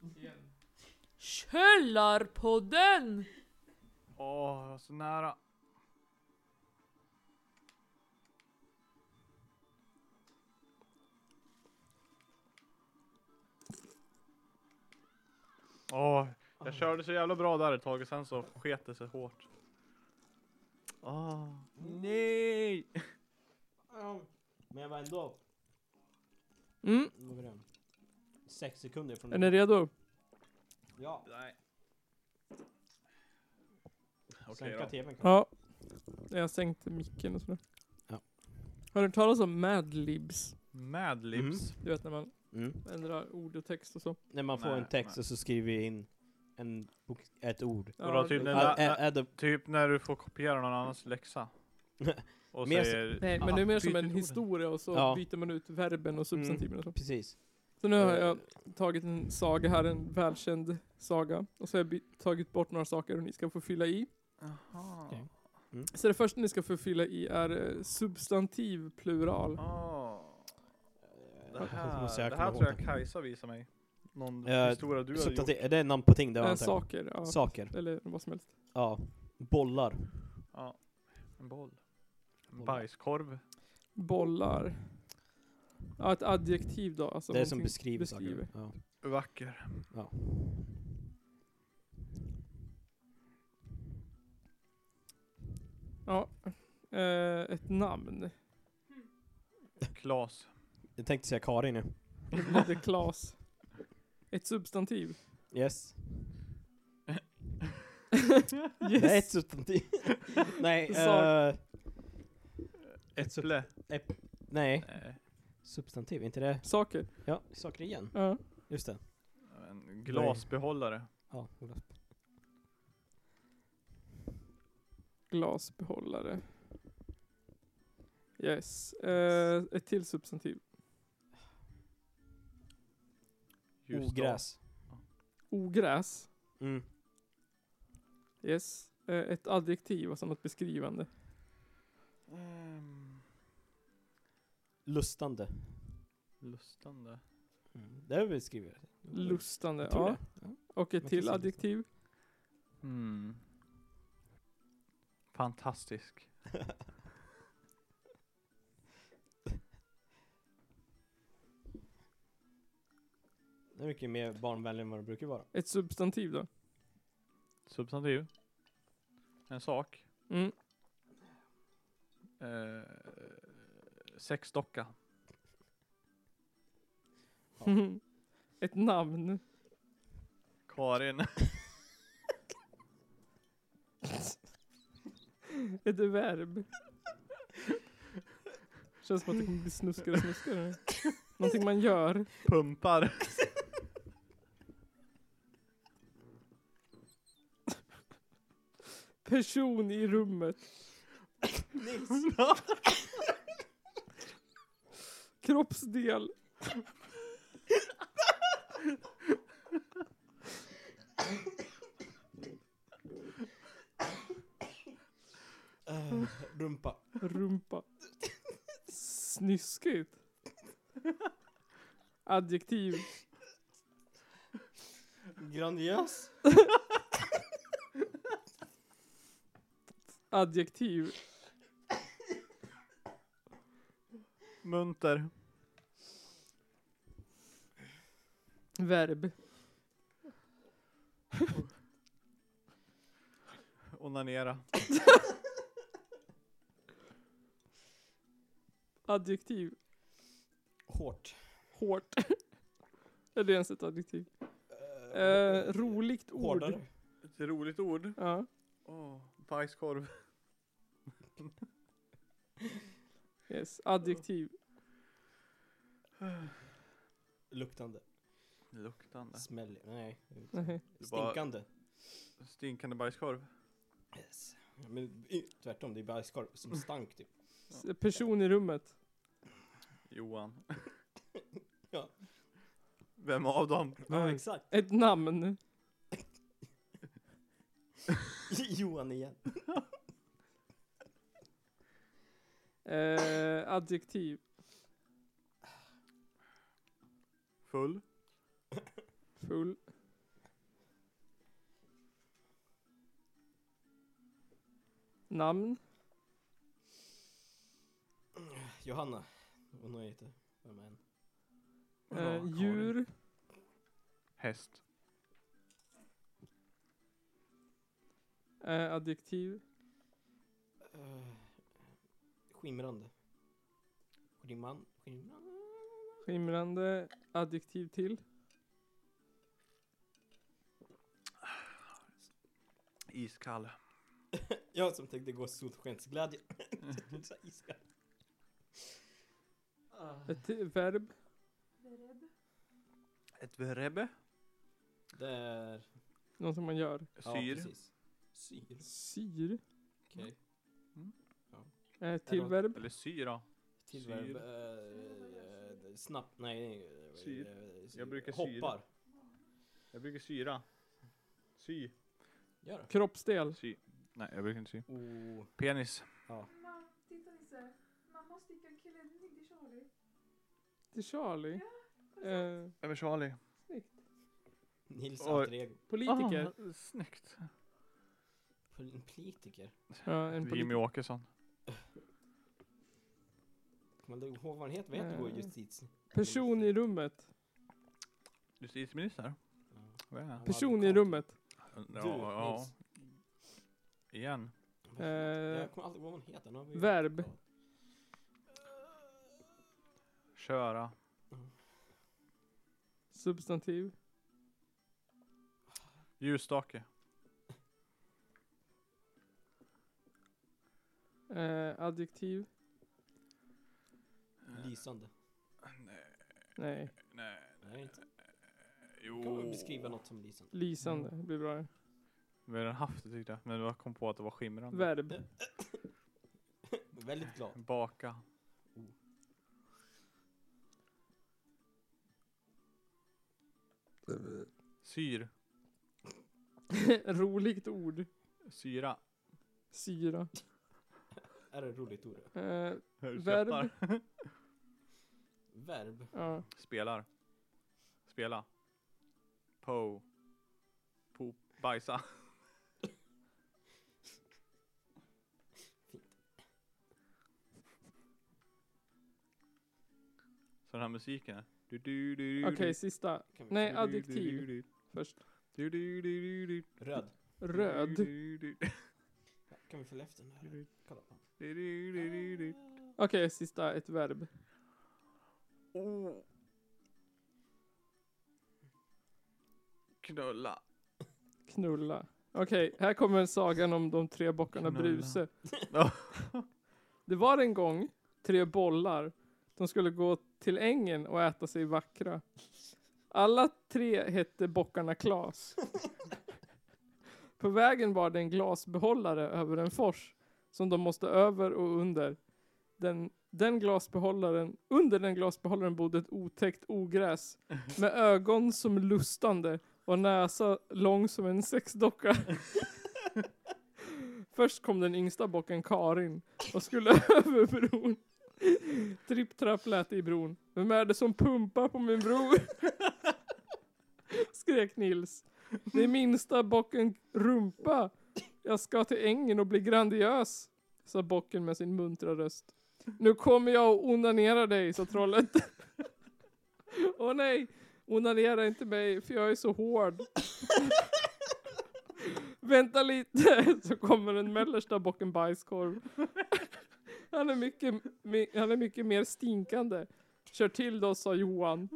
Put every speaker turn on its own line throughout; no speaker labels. Igen.
Källarpodden!
Åh, jag var så nära. Åh, jag körde så jävla bra där ett tag och sen så sket det sig hårt. Åh, nej!
Ja, Men jag var ändå
Mm,
vad var det? sex sekunder från
är ni redo?
Ja,
Nej. Okej
sänka
då.
tvn kanske.
Ja. Jag har sänkt micken och sådär.
Ja.
Har du hört talas om madlibs?
Madlibs.
Du vet när man
Mm.
ändrar ord och text och så.
När man får
Nej,
en text
nej.
och så skriver vi in en bok, ett ord.
Ja,
Och då
det-
tydligen-
Ja,
na-
ä- ä- då-
Typ när du får kopiera någon annans läxa. Och
Men jag-
säger...
Nej, men
"Ah,
det är mer
byt
som en
ut orden."
historia och så
Ja.
byter man ut verben och substantiven och så.
Precis.
Så nu
Eh.
har jag tagit en saga här, en välkänd saga. Och så har jag by- tagit bort några saker och ni ska få fylla i.
Jaha.
Okej.
Så det första ni ska få fylla i är eh, substantiv plural.
Ah. Det
Det måste
här,
jag
det
komma
här
ihåg
tror jag
nu.
Kajsa visar mig. Någon
Eh,
historia du har gjort.
Substantiv, är det namn på ting? Det var
Äh,
antagligen.
saker, ja.
Saker.
Eller vad som helst.
Ja. Bollar.
Ja. En boll. En
Boll.
bajskorv.
Bollar. Ja, ett adjektiv då. Alltså
det är som
någonting-
beskriver,
beskriver.
saker. Ja.
Vacker.
ja.
Ja. Eh, ett namn.
Klas.
Jag tänkte säga Karin nu.
Det blev det Klas. Ett substantiv.
Yes.
Yes.
Det är ett substantiv. nej.
Sak.
eh, Ett
Äpple.
nej.
Nej.
Substantiv, inte det?
Saker.
Ja, saker igen.
Ja.
Just det.
En glasbehållare.
Ja, Ola.
Glasbehållare. Yes. Eh, ett till substantiv.
Ljusstake.
Ogräs.
Ogräs.
Mm.
Yes. Eh, ett adjektiv, alltså något beskrivande.
Ehm,
Lustande.
lustande.
Mm. Det har vi skrivit.
Lustande.
Jag tror
Ja.
det. Ja.
Och ett
Man kan
till
säga
adjektiv.
Mm. Fantastisk.
Det är mycket mer barnvänlig än vad det brukar vara.
Ett substantiv då.
Substantiv. En sak.
Mm.
Eh, sexdocka.
Mhm. ett namn.
Karin.
Ett verb. Känns som att det kommer bli snuskigare och snuskigare. Någonting man gör.
Pumpar.
Person i rummet. Kroppsdel.
Eh, rumpa.
Rumpa. Snyskigt. Adjektiv.
Grandiös.
Adjektiv.
Munter.
Verb.
Onanera.
Adjektiv.
Hårt.
Hårt. Är det ens ett adjektiv?
Eh,
Eh, roligt ord.
Hårdare.
Ett roligt ord.
Ja.
Åh, bajskorv.
Yes. Adjektiv.
Luktande.
Luktande.
Smäll. Nej.
Nej.
Det var-
Stinkande.
Stinkande bajskorv.
Yes. Ja, Men i- tvärtom, det är bajskorv
Mm.
som stank typ.
S- Person i rummet.
Johan.
Ja.
Vem av dem?
Ja, exakt.
Ett namn.
Johan igen.
Eh, adjektiv.
Full.
Full. Namn.
Johanna. Hon har heter. Vem är en?
Ja,
Eh,
Karin.
djur.
Häst.
Eh, adjektiv.
Eh, skimrande. Skimman. Skimrande.
Skimrande. Adjektiv till.
Iskall.
Jag som tänkte gå solskensglädje. Så iskall. Ah.
Ett till- verb.
Ett verbe.
Där.
Något som man gör.
Syr.
precis. Syr.
Syr.
Okej.
Mm.
Eh, till
något-
verb.
Eller syra.
Till
Syr.
verb. eh, eh, snabbt. Nej. eh,
Syr.
eh,
Jag brukar syra.
Hoppar.
Jag brukar syra. Sy.
Gör det.
Kroppsdel.
Sy. Nej, jag brukar inte sy.
Oh.
Penis.
Mamma, titta Nisse. Mamma stickar en klänning till Charlie.
Till Charlie. Eh,
Vem är Charlie?
snyggt.
Nils
Oj.
alter ego.
Politiker.
Ah, snyggt.
Pol- Politiker.
Ja, en
Jimmy
politiker.
Åkesson.
Kommer du ihåg vad han heter? Vad heter vår
Eh.
justitie?
Person i rummet.
Justitieminister.
Ja.
Vad är det?
Person i rummet.
Du,
ja.
Nils.
Igen.
Vad
Eh,
Jag kommer aldrig ihåg vad hon heter. Nu har vi-
verb.
Ja.
Köra.
Substantiv.
Ljusstake.
Eh, adjektiv.
Lysande.
Nej.
Nej.
Nej, inte. Kan man
Jo.
beskriva något som lysande?
Lysande.
Mm.
blir bra.
Vi har redan haft det tyckte jag. Men jag kom på att det var skimrande.
Verb.
Väldigt glad.
Baka. Syr.
Roligt ord.
Syra.
Syra.
Är det roligt ord?
Eh, Verb.
Verb.
Verb.
ja.
Spelar. Spela. Po. Pop. Bajsa.
Fint.
Så den här musiken. är. Du, du, du, du,
Okej,
du,
sista.
Kan vi-
Nej,
du, du, du,
adjektiv
du,
först.
du, du, du, du, du,
Röd.
du,
Röd. Okej,
du, du,
Ja, Kan vi följa efter den här?
du,
Kolla på
du,
den.
du, du, du.
sista. Ett verb.
Oh. Knulla.
Knulla. Okej, här kommer sagan om de tre bockarna
Knulla.
Bruse.
Ja.
Det var en gång tre bollar. De skulle gå till ängen och äta sig vackra. Alla tre hette bockarna Klas. På vägen var det en glasbehållare över en fors som de måste över och under. Den, den glasbehållaren, under den glasbehållaren bodde ett otäckt ogräs med ögon som lustande och näsa lång som en sexdocka. Först kom den yngsta bocken Karin och skulle över bron. Tripp-trapp lät det i bron. Vem är det som pumpar på min bro? Skrek Nils. Det är minsta bocken Rumpa. Jag ska till ängen och bli grandiös, sa bocken med sin muntra röst. Nu kommer jag och onanerar dig, sa trollet. Åh nej, onanera inte mig, för jag är så hård. Vänta lite, så kommer den mellersta bocken bajskorv. Han är mycket, me- han är mycket mer stinkande. Kör till då, sa Johan.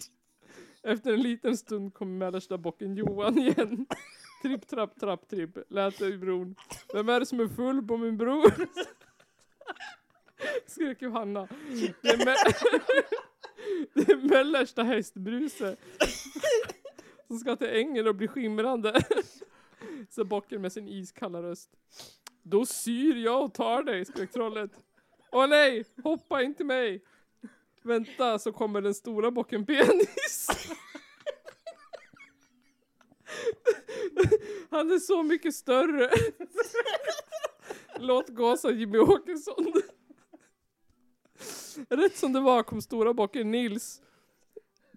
Efter en liten stund kom mellersta bocken Johan igen. Tripp, trapp, trapp, tripp, lät det i bron. Vem är det som är full på min bro? Skrek Johanna. Det är, me- det är mellersta hästbruse. Som ska till ängen och bli skimrande. Så bocken med sin iskalla röst. Då syr jag och tar dig, skrek trollet. Åh nej, hoppa inte mig! Vänta, så kommer den stora bocken Penis. Han är så mycket större. Låt gå, sa Jimmy Åkesson. Rätt som det var kom stora bocken Nils.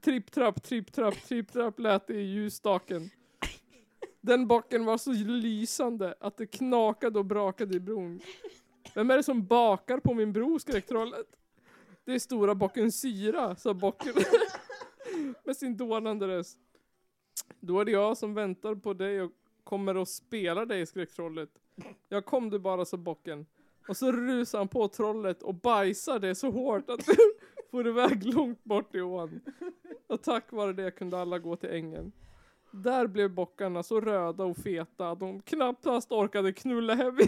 Tripp, trapp, tripp, trapp, tripp, trapp lät det i ljusstaken. Den bocken var så lysande att det knakade och brakade i bron. Vem är det som bakar på min bro, skrek trollet. Det är stora bocken Syra, sa bocken med sin dånande röst. Då är det jag som väntar på dig och kommer och spelar dig, skrek trollet. Jag kom du bara, sa bocken. Och så rusade han på trollet och bajsade det så hårt att det for iväg långt bort i ån. Och tack vare det kunde alla gå till ängen. Där blev bockarna så röda och feta att de knappast orkade knulla hemmen.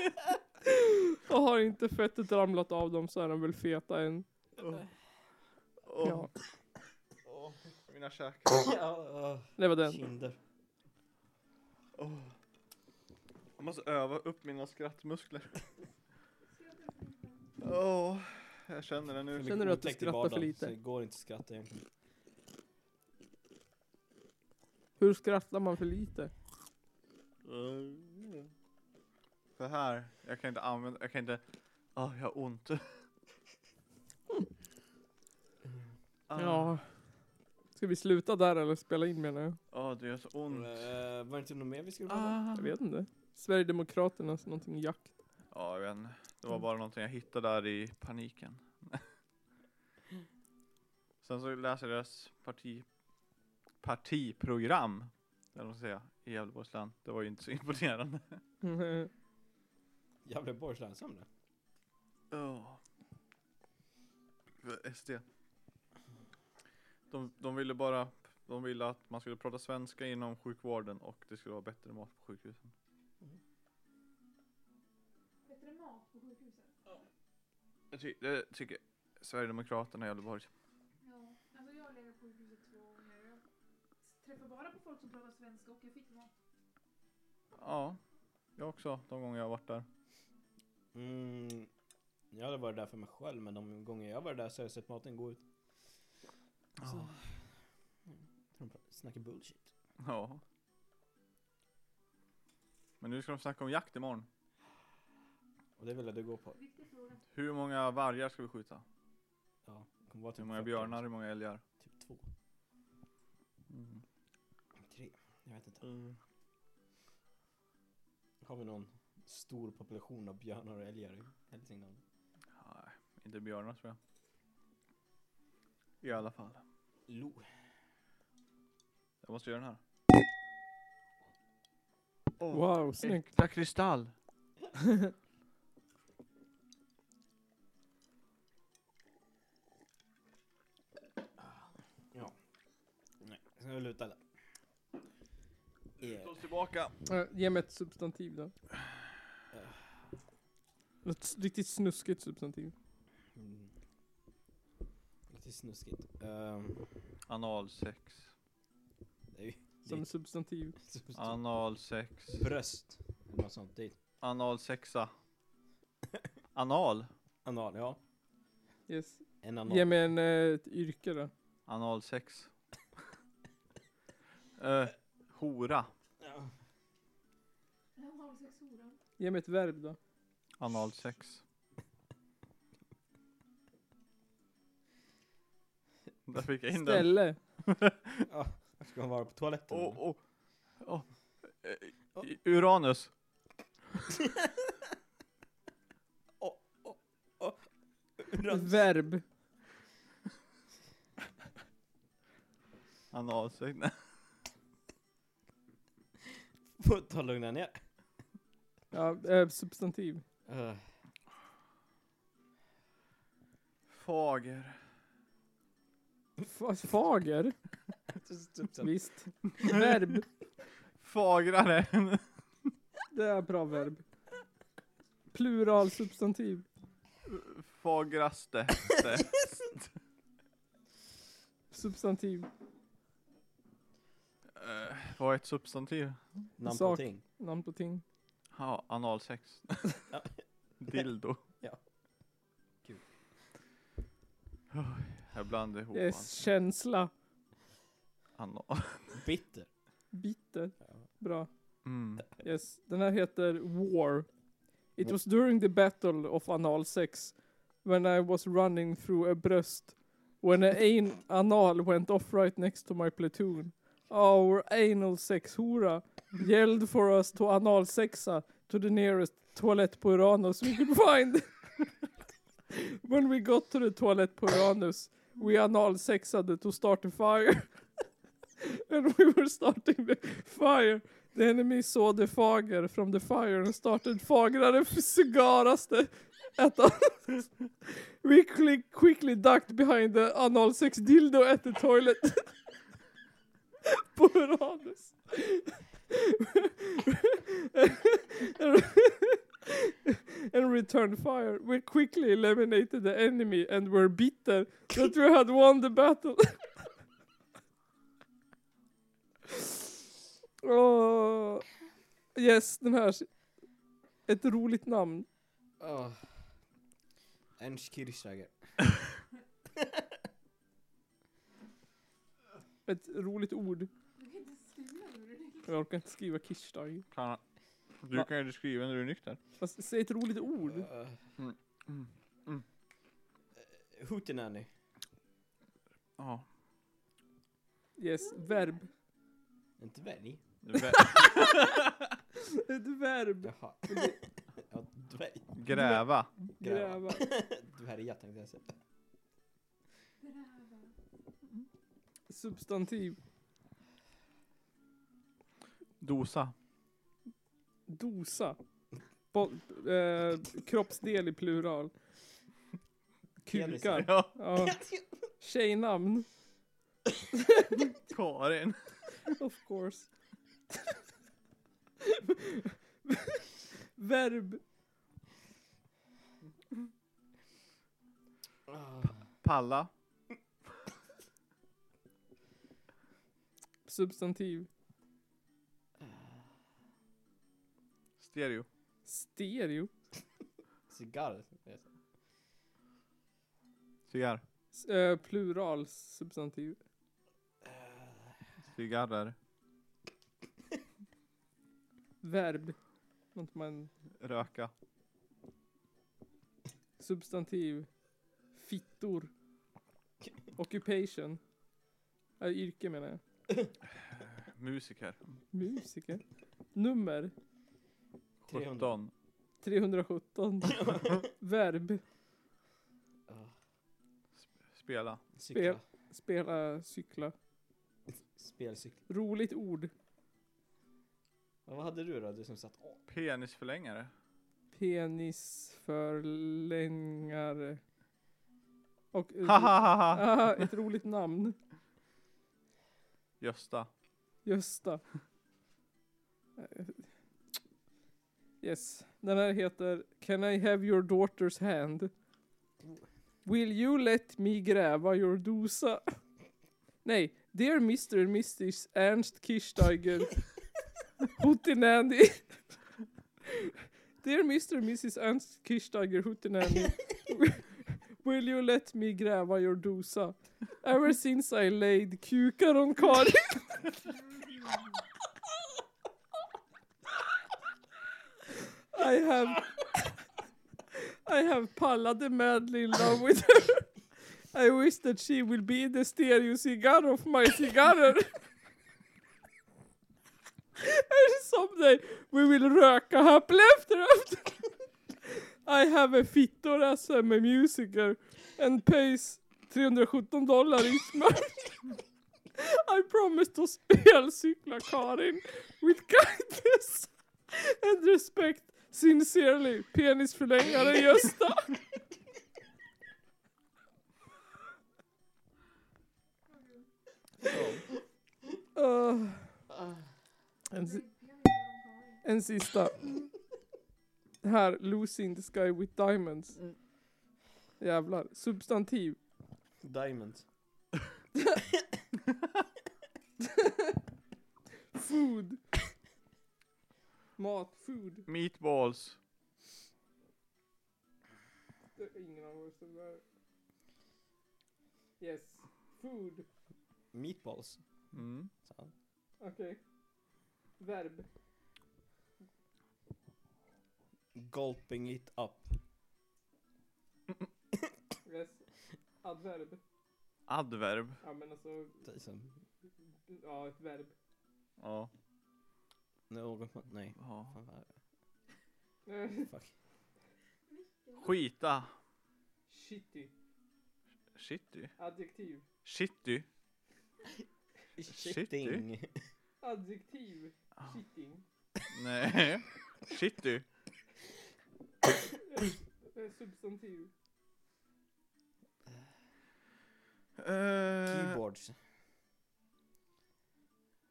och har inte fettet ramlat av dem så är de väl feta än.
Åh,
Ja,
åh, mina käkar.
Ja,
det var
åh,
den.
Kinder.
Åh. Jag måste öva upp mina skrattmuskler. Åh, jag känner det nu.
Känner du att du
Utlägg till
skrattar för
vardagen,
lite?
Så det går inte att skratta egentligen.
Hur skrattar man för lite?
Så här, jag kan inte använda, jag kan inte, ah, jag har ont. Ah,
Ja. Ska vi sluta där eller spela in menar jag?
ah, det gör så ont.
Eh, var det inte något mer vi skulle prata om?
Ah.
Jag vet inte. Sverigedemokraternas någonting jakt.
Ja, jag vet inte. Det var bara någonting jag hittade där i paniken. Sen så läser jag deras parti, partiprogram, eller vad man ska säga, i Gävleborgs län. Det var ju inte så imponerande.
Gävleborgs länsämne?
Ja. SD. De, de ville bara, de ville att man skulle prata svenska inom sjukvården och det skulle vara bättre mat på sjukhusen.
Bättre mat på sjukhuset.
Jag ty, det tycker Sverigedemokraterna i Gävleborg.
Ja, alltså jag har legat på sjukhuset två gånger. Jag träffar bara på folk som pratar svenska och jag fick mat.
Ja, jag också, de gånger jag har varit där.
Mm, jag hade varit där för mig själv men de gånger jag var där så har jag sett maten gå ut. Så.
Ja.
Mm. De pra- Snackar bullshit.
Ja. Men nu ska de snacka om jakt imorgon.
Och det ville du gå på.
Viktig fråga.
Hur många vargar ska vi skjuta?
Ja, det kommer vara typ
Hur många
40,
björnar? Hur många älgar?
Typ två,
Mm.
tre. Jag vet inte. Mm. Har vi någon stor population av björnar och älgar i Hälsingland?
Nej, inte björnar tror jag. I alla fall.
Lo.
Jag måste göra den här.
Wow, snyggt.
Äkta kristall!
Nej, ska vi luta
Luta
eller? Yeah.
oss tillbaka.
Eh, Ge mig ett substantiv då. Något s- riktigt snuskigt substantiv.
Mm. Lite snuskigt. Ehm,
Analsex.
det är ju
Som
Det-
substantiv.
Analsex.
bröst. Eller något sånt. Det är
Analsexa. Anal.
anal, ja.
Yes.
En anal.
Ge mig en, eh, ett yrke då.
Analsex. Eh, hora.
Ja.
En halvsexhora.
Ge mig ett verb då.
Analsex. Där fick jag in den.
Ställe.
Ja, Ska man vara på toaletten?
Åh,
eller?
åh, åh. Eh, i- Uranus.
Ett verb.
Analsex.
Får ta och lugna ner.
Ja, eh, substantiv.
Eh,
Fager.
Fa- Fager.
typ så-
Visst. Verb.
Fagrare.
Det är bra verb. Plural substantiv.
Fagraste.
Substantiv.
Eh, Vad är ett substantiv?
Namn på
Sak.
ting.
Namn på ting.
Ja, analsex.
Ja.
Dildo.
Ja. Kul.
Oh, Jag blandar ihop
Yes. Känsla.
allt. Anal.
Bitter.
Bitter.
Ja.
Bra.
Mm.
Yes. Den här heter War. It was during the battle of anal sex when I was running through a breast when an an- anal went off right next to my platoon. Our anal sex hora yelled for us to anal sexa to the nearest toilet på Uranus we could find. when we got to the toilet på Uranus we anal sexade to start a fire. and we were starting the fire The enemy saw the fager from the fire and started fagrare cigaraste at us. We quickly, quickly ducked behind the anal sex dildo at the toilet. På Uranus. and returned fire. We quickly eliminated the enemy and were bitter that we had won the battle. Åh. Oh. Yes, den här. Ett roligt namn.
Oh. Ernst Kirchsteiger.
Ett roligt ord.
Du kan inte skriva hur du vill.
Jag orkar inte skriva Kirchsteiger.
Klara, Du
Va?
kan ju skriva när du är nykter.
Fast säg ett roligt ord.
Uh,
Mm.
Eh, Hootenanny.
Ja.
Yes, verb.
Inte dvärg?
Vä-
Ett verb.
Jaha. ja, dvärg.
Gräva.
Gräva.
Dvärga tänkte jag säga.
Gräva.
Substantiv.
Dosa.
Dosa. Bo- eh, kroppsdel i plural. Kukar.
Ja.
Ja. Tjejnamn.
Karin.
Of course. verb.
Ah,
Palla.
Substantiv.
Stereo.
Stereo.
Eh, Cigarr. Eh, tänkte jag säga.
Cigarr.
S- eh, plural substantiv.
Cigarrer.
Verb. Något man...
Röka.
Substantiv. Fittor. Occupation. Äh, yrke menar jag.
Musiker.
Musiker. Nummer.
300.
17.
317. Verb.
Ah,
Spela.
Cykla.
Spela, cykla.
Spelcykel.
Roligt ord.
Ja, Vad hade du då? Du som satt åh,
Penisförlängare.
Penisförlängare. Och...
Hahaha.
Ah, ett roligt namn.
Gösta.
Gösta. Yes. Den här heter Can I have your daughter's hand? Will you let me gräva your dosa? Nej. Dear Mr and Mrs Ernst Kirchsteiger. Hootenanny. Dear Mr and Mrs Ernst Kirchsteiger Hootenanny. Will you let me gräva your dosa? Ever since I laid kukar on Karin. I have I have pallade madly in love with her. I wish that she will be the stereo cigar of my cigarrer. And someday we will röka happily after after. I have a fittor as I'm a musiker and pays 317 dollar each month. I promise to spelcykla Karin with kindness and respect Sincerely, penisförlängare Gösta. Öh, en, si- en sista. Det här, Lucy in the sky with diamonds. Jävlar. Substantiv.
Diamond.
Food. Mat. Food.
Meatballs.
Det är Ingen av oss som är- Yes. Food.
Meatballs.
Mm.
sa han.
Okej. Verb.
Gulping it up.
Yes. Adverb.
Adverb.
Ja men alltså,
Det är som-
ja ett verb.
Ja.
Något man, nej.
ja.
Fan, vad är det? Fuck.
Skita.
Shitty.
Shitty.
Adjektiv.
Shitty.
Shitting.
eh. Adjektiv. Shitting.
Nej. Shitty.
Eh, Substantiv.
Uh,
Keyboards.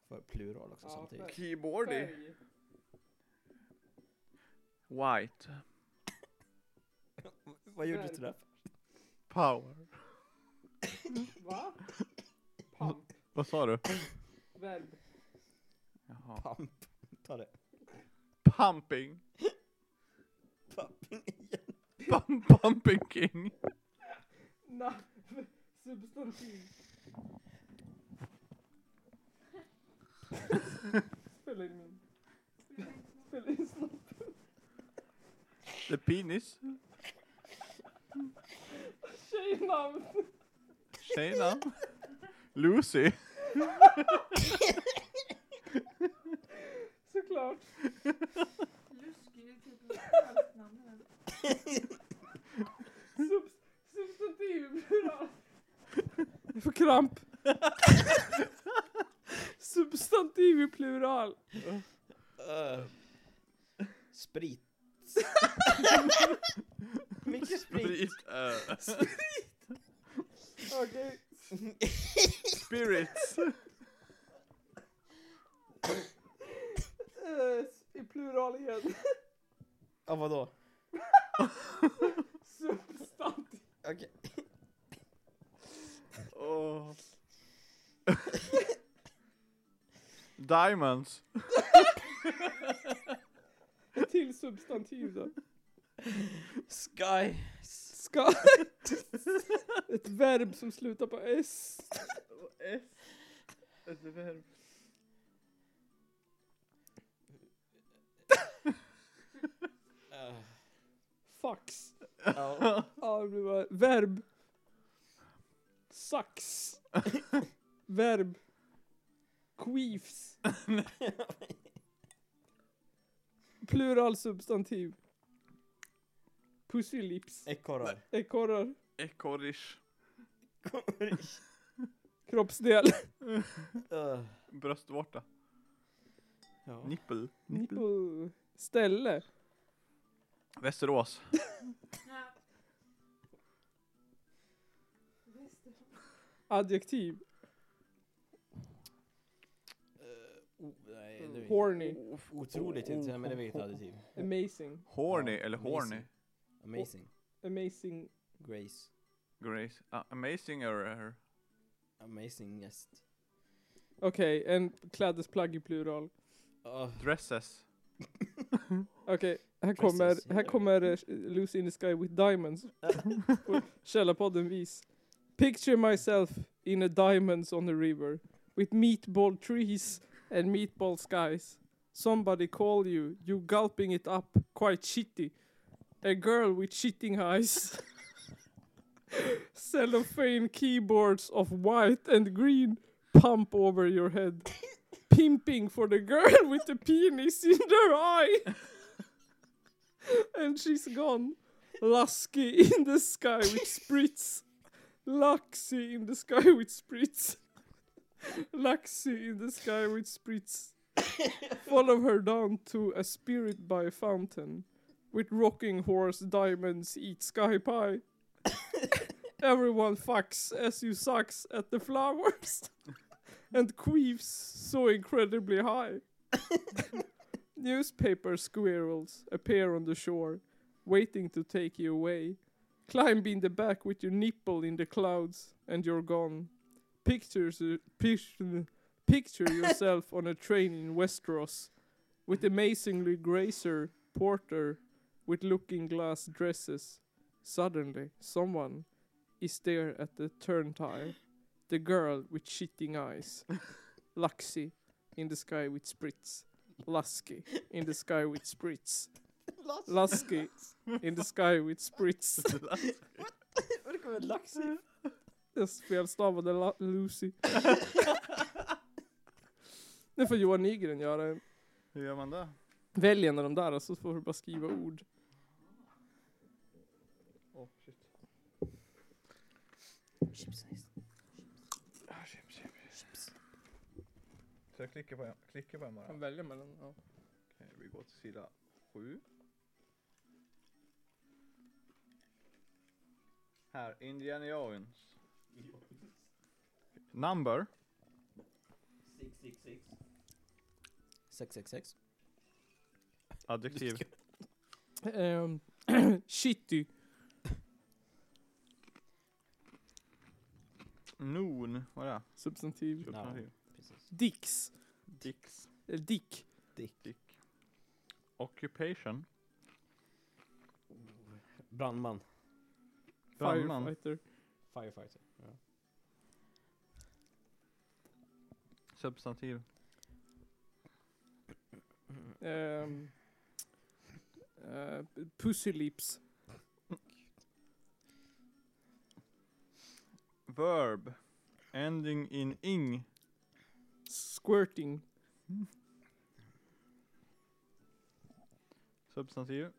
För plural också
Ja,
samtidigt.
keyboardy.
Färg.
White.
Vad gjorde du till det?
Power.
Va? Pump.
Vad sa du?
Verb.
Jaha.
Pump. Ta det.
Pumping.
Pumping.
Pump, pumping king.
Na. Substantiv. Spela in min. Spela in snabbt.
The penis.
Tjejnamn.
Tjena. Lucy.
Såklart.
Lusky, det är typ allt namn.
Subs substantiv. plural. Jag får kramp. Substantiv i plural.
Uh, sprit. Mycket
Sprit.
sprit.
eh,
Okej.
spirits.
Eh, s- I plural igen.
Ja, vadå?
Substantiv.
Okej.
Åh. Diamonds.
Till substantiv då.
Sky.
Ska. Ett verb som slutar på S.
S. Ett verb.
Uh,
Fax.
ja.
Ja, det blir bara verb. Sax. Verb. Queefs. Plural substantiv. Pussylips.
Ekorrar.
Ekorrar.
Ekorrish.
Kroppsdel.
Eh,
Bröstvårta.
ja.
Nippel.
Nipple. Ställe.
Västerås.
Ja. Västerås.
Adjektiv.
Eh, o- nej, det är
Horny.
Otroligt inte, men det vet jag adjektiv.
Amazing.
Horny
Ja,
eller horny?
Amazing.
Amazing.
Grace.
Grace. Ah, amazing error.
Amazingest.
Okej, en klädesplagg i plural.
Uh,
Dresses.
Okej, här
Precis.
kommer, här kommer eh, Lucy in the Sky with Diamonds. På Källarpodden vis. Picture myself in a diamonds on the river with meatball trees and meatball skies. Somebody call you, you gulping it up, quite shitty. A girl with shitting eyes. Cellophane keyboards of white and green pump over your head. Pimping for the girl with the penis in their eye. And she's gone. Lasky in the sky with spritz. Laxy in the sky with spritz. Laxy in the sky with spritz. Follow her down to a spirit by a fountain. With rocking horse diamonds eat sky pie. Everyone fucks as you sucks at the flowers. and queefs so incredibly high. Newspaper squirrels appear on the shore, waiting to take you away. Climb in the back with your nipple in the clouds, and you're gone. Pictures, picture, picture yourself on a train in Westeros, with amazingly gracer porter, with looking glass dresses. Suddenly, someone is there at the turntile. The girl with shitting eyes, Luxy, in the sky with spritz. Lasky in the sky with spritz.
Lax.
Lasky in the sky with spritz.
Och det kommer en lax i.
Jag felstavade la- Lucy. Nu får Johan Nygren göra en.
Hur gör man det?
Välj en av de där och så får du bara skriva ord.
Åh, shit. Ah, chip, chip. Så jag klickar på en, klickar på en bara.
Kan välja mellan, ja.
Okej, vi går till sida sju. Här, Indiana Jones. Number
666.
Adjektiv.
Ehm, shitty.
Noon. Vad är det?
Substantiv.
Substantiv.
Precis.
Dicks.
Dicks.
Eller dick.
Dick. Occupation.
Brandman.
Brandman.
Firefighter.
Firefighter. Ja.
Substantiv.
Ehm, eh, pussy lips.
Verb. Ending in ing.
Squirting.
Substantiv.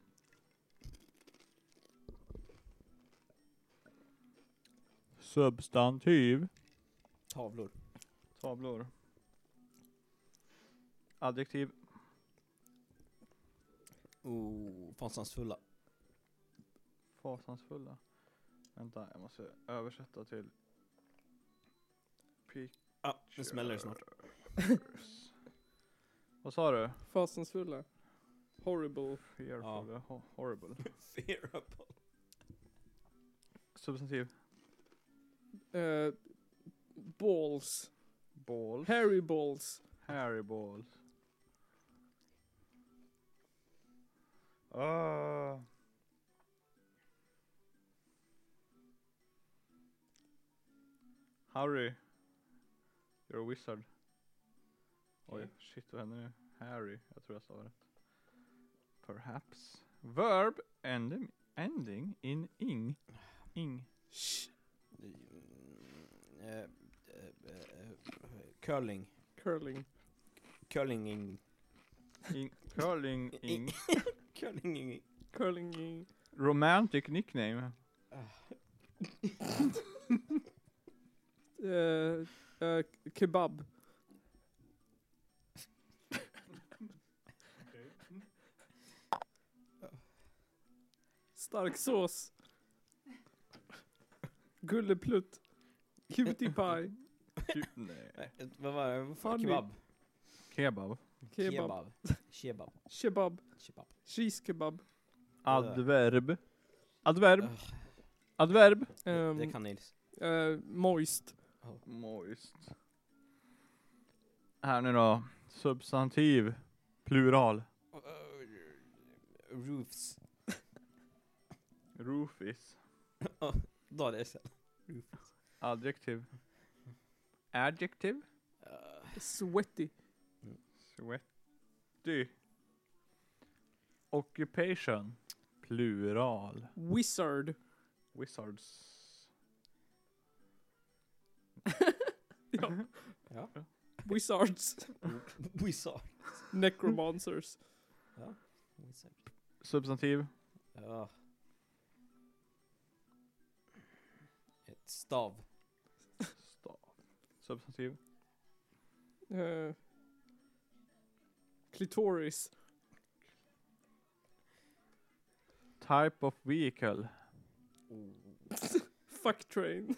Substantiv.
Tavlor.
Tavlor. Adjektiv.
Oh, fasansfulla.
Fasansfulla. Vänta, jag måste översätta till pictures.
Ah, nu smäller det snart.
Vad sa du?
Fasansfulla. Horrible.
Fearful. ho- Horrible.
Fearable.
Substantiv.
Eh, balls.
Balls.
Hairy balls.
Harry balls. Ah. Harry. You're a wizard. Oj,
Okej.
shit vad händer nu? Harry, jag tror jag sa rätt. Perhaps. Verb ending, ending in ing. Ing.
Sh-
Mm, eh, eh, eh, Curling.
curling.
Curlinging.
ing. Curling ing.
Curlinging.
Curling. i-
Romantic nickname.
eh, eh, kebab. Starksås. Gulleplutt. Cutie pie.
Ty- nej.
Eh, Vad var det?
Funny.
Kebab.
Kebab.
Kebab.
Kebab.
Kebab.
Kebab.
Cheese kebab.
Adverb. Adverb.
Ugh.
Adverb.
Det- Det
Ehm,
kan Nils.
eh, moist.
Moist. Här nu då. Substantiv. Plural.
Roofs.
Roofis.
Då är det sen. Roofs.
Adjektiv. Adjektiv.
Eh,
Sweaty.
Sweaty. Occupation. Plural.
Wizard.
Wizards.
Ja.
Ja.
Wizards.
Wizard.
Necromancers.
Wizard.
Substantiv.
Ja. Ett stav.
Stav. Substantiv.
Eh, clitoris.
Type of vehicle.
Fuck train.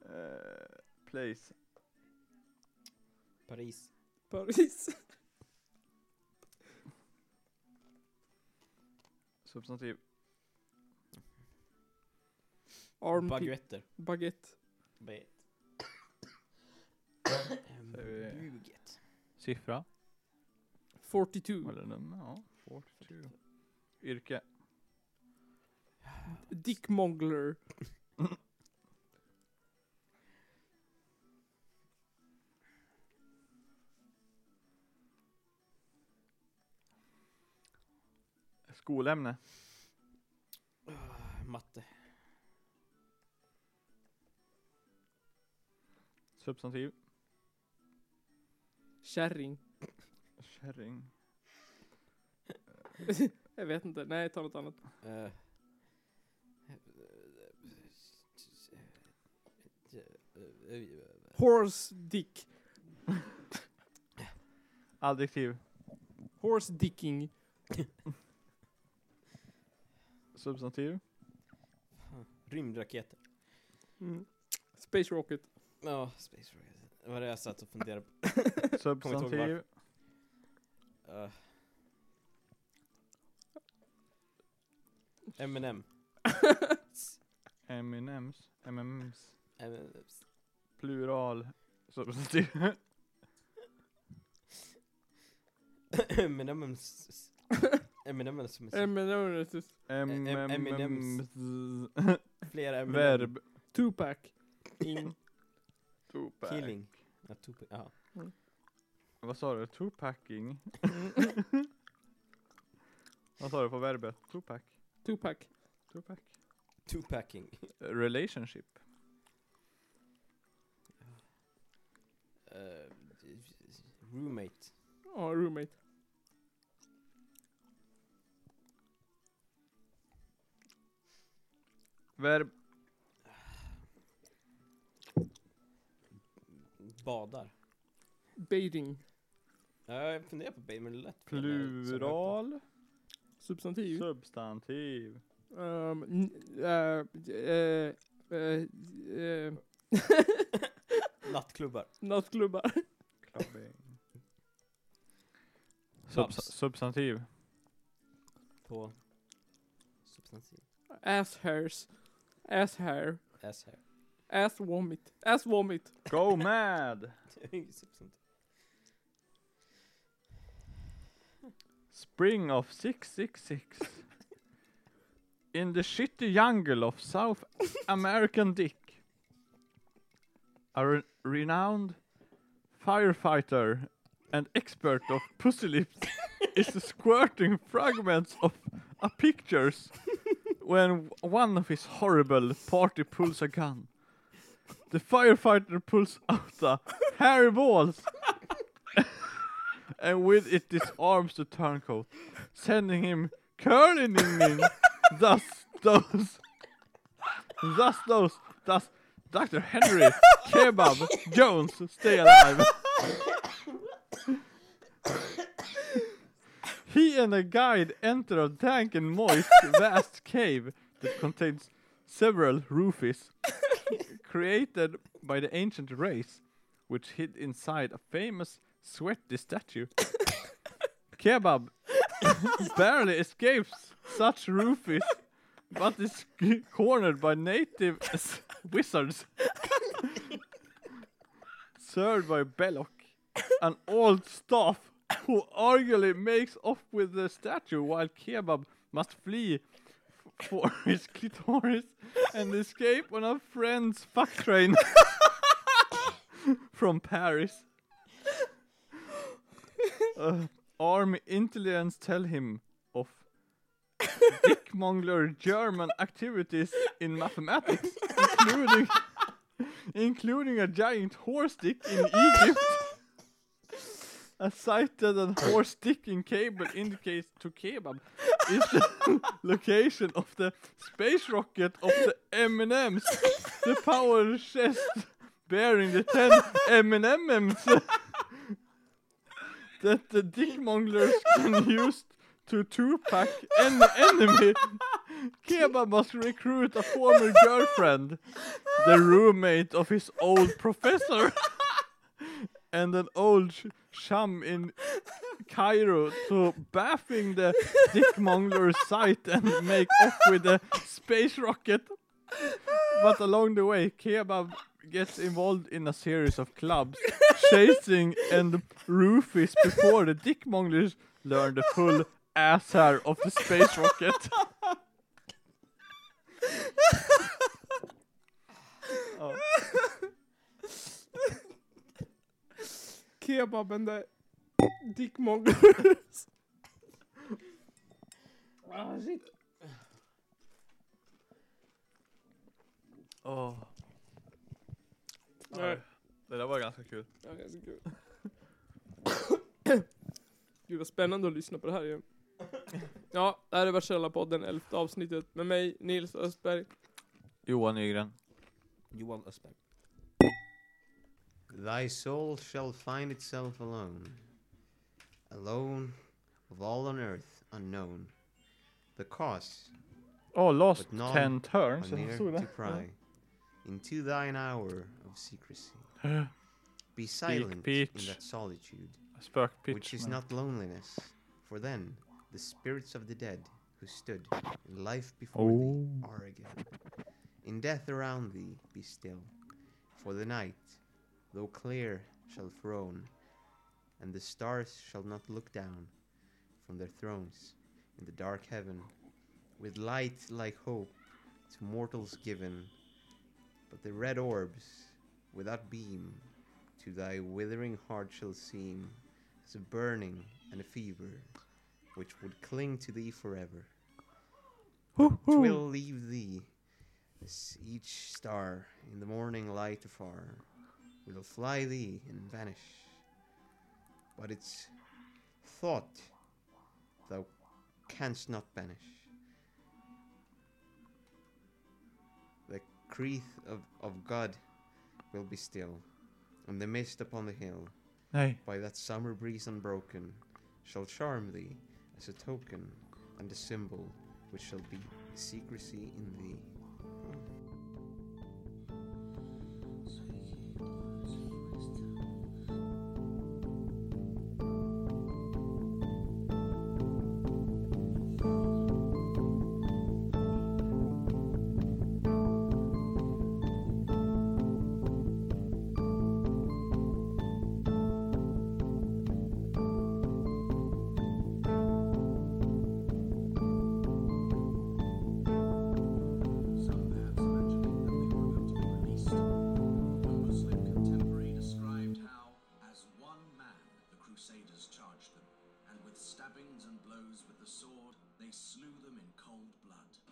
Eh, place.
Paris.
Paris.
Substantiv.
Armpit.
Baguetter.
Baguette.
Baguette.
Säger vi-
Buget.
Siffra.
42.
Eller nummer, ja. 42. Yrke.
Dickmongler.
Skolämne.
Ah, Matte.
Substantiv.
Kärring.
Kärring.
Jag vet inte. Nej, ta något annat.
Eh. eh,
Horse dick.
Adjektiv.
Horse dicking.
Substantiv.
Rymdraketer.
Mm. Space rocket.
Ja, Space Rocket. Det var det jag satt och funderade på.
Substantiv.
Eh. M&M.
Eminems. MMs.
M&M's.
Plural. Substantiv.
M&M's. M&M's.
Eh,
musik.
Eminem.
MMs.
Eminems. Flera M&M.
Verb.
Tupac. In.
Tupac.
Killing. Ja, Tupac. Ja.
Vad sa du? Tupacking? Vad sa du på verbet? Tupac?
Tupac.
Tupac?
Tupacking.
Relationship?
Eh, roommate.
Ja, roommate.
Verb?
Badar.
Bathing.
Ja, jag funderar på baby, men det lät fel när jag sa det högt
Plural? Typ.
Substantiv.
Substantiv?
Um, n- eh, eh, eh, eh,
då. Nattklubbar.
nattklubbar.
Clubbing. Subs
Babs.
substantiv?
På substantiv.
Ass hairs. Ass hair.
Ass hair.
Ass vomit. Ass vomit.
Go mad!
Det är inget substantiv.
Spring of 666. In the shitty jungle of South American Dick. A re- renowned firefighter and expert of pussy lips is squirting fragments of a pictures when one of his horrible party pulls a gun. The firefighter pulls out a hairy balls and with it disarms the turncoat, sending him curling thus those thus those thus Dr. Henry Kebab Jones stay alive. he and a guide enter a dank and moist vast cave that contains several roofies created by the ancient race which hid inside a famous sweaty statue. Kebab barely escapes such roofies, but is c- cornered by native s- wizards. Served by Belloc, an old staff who arguably makes off with the statue while Kebab must flee f- for his clitoris and escape on a friend's fuck train from Paris. Uh, army intelligence tell him of dickmongler German activities in mathematics, including including a giant horse dick in Egypt. A sighted and horse sticking cable indicates to kebab is the location of the space rocket of the M&Ms, the power chest bearing the ten M&Ms that the dickmonglers can use to two-pack an enemy. Kebab must recruit a former girlfriend, the roommate of his old professor, and an old sh- sham in Cairo to baffing the dickmongler sight and make off with the space rocket. But along the way, Kebab gets involved in a series of clubs, chasing and roofies before the dickmonglers learn the full ass hair of the space rocket. Ja.
Kebaben där. Dick Mongrels. Ah, shit.
Åh.
Nej.
Det där var ganska kul.
Ja, det är så kul. Gud vad spännande att lyssna på det här ju. Ja, det här är Varselapodden, elfte avsnittet med mig, Nils Östberg.
Johan Nygren.
Johan Östberg.
Thy soul shall find itself alone, alone of all on earth unknown. The cause
Oh, lost
But none
ten turns.
are near to pry into thine hour of secrecy. Be silent
peach.
in that solitude,
Spökpitch.
which is
men-
not loneliness, for then the spirits of the dead who stood in life before thee
Oh.
are again. In death around thee be still, for the night, though clear, shall throne, and the stars shall not look down from their thrones in the dark heaven, with light like hope to mortals given, but the red orbs without beam to thy withering heart shall seem as a burning and a fever which would cling to thee forever. Twill leave thee as each star in the morning light afar will fly thee and vanish. But its thought thou canst not banish. The creath of, of God will be still, and the mist upon the hill
Nej.
by that summer breeze unbroken shall charm thee as a token and a symbol which shall be secrecy in thee.
Some bands mentioning that they were going to be released. One Muslim contemporary described how, as one man, the Crusaders charged them, and with stabbings and blows with the sword, they slew them in cold blood.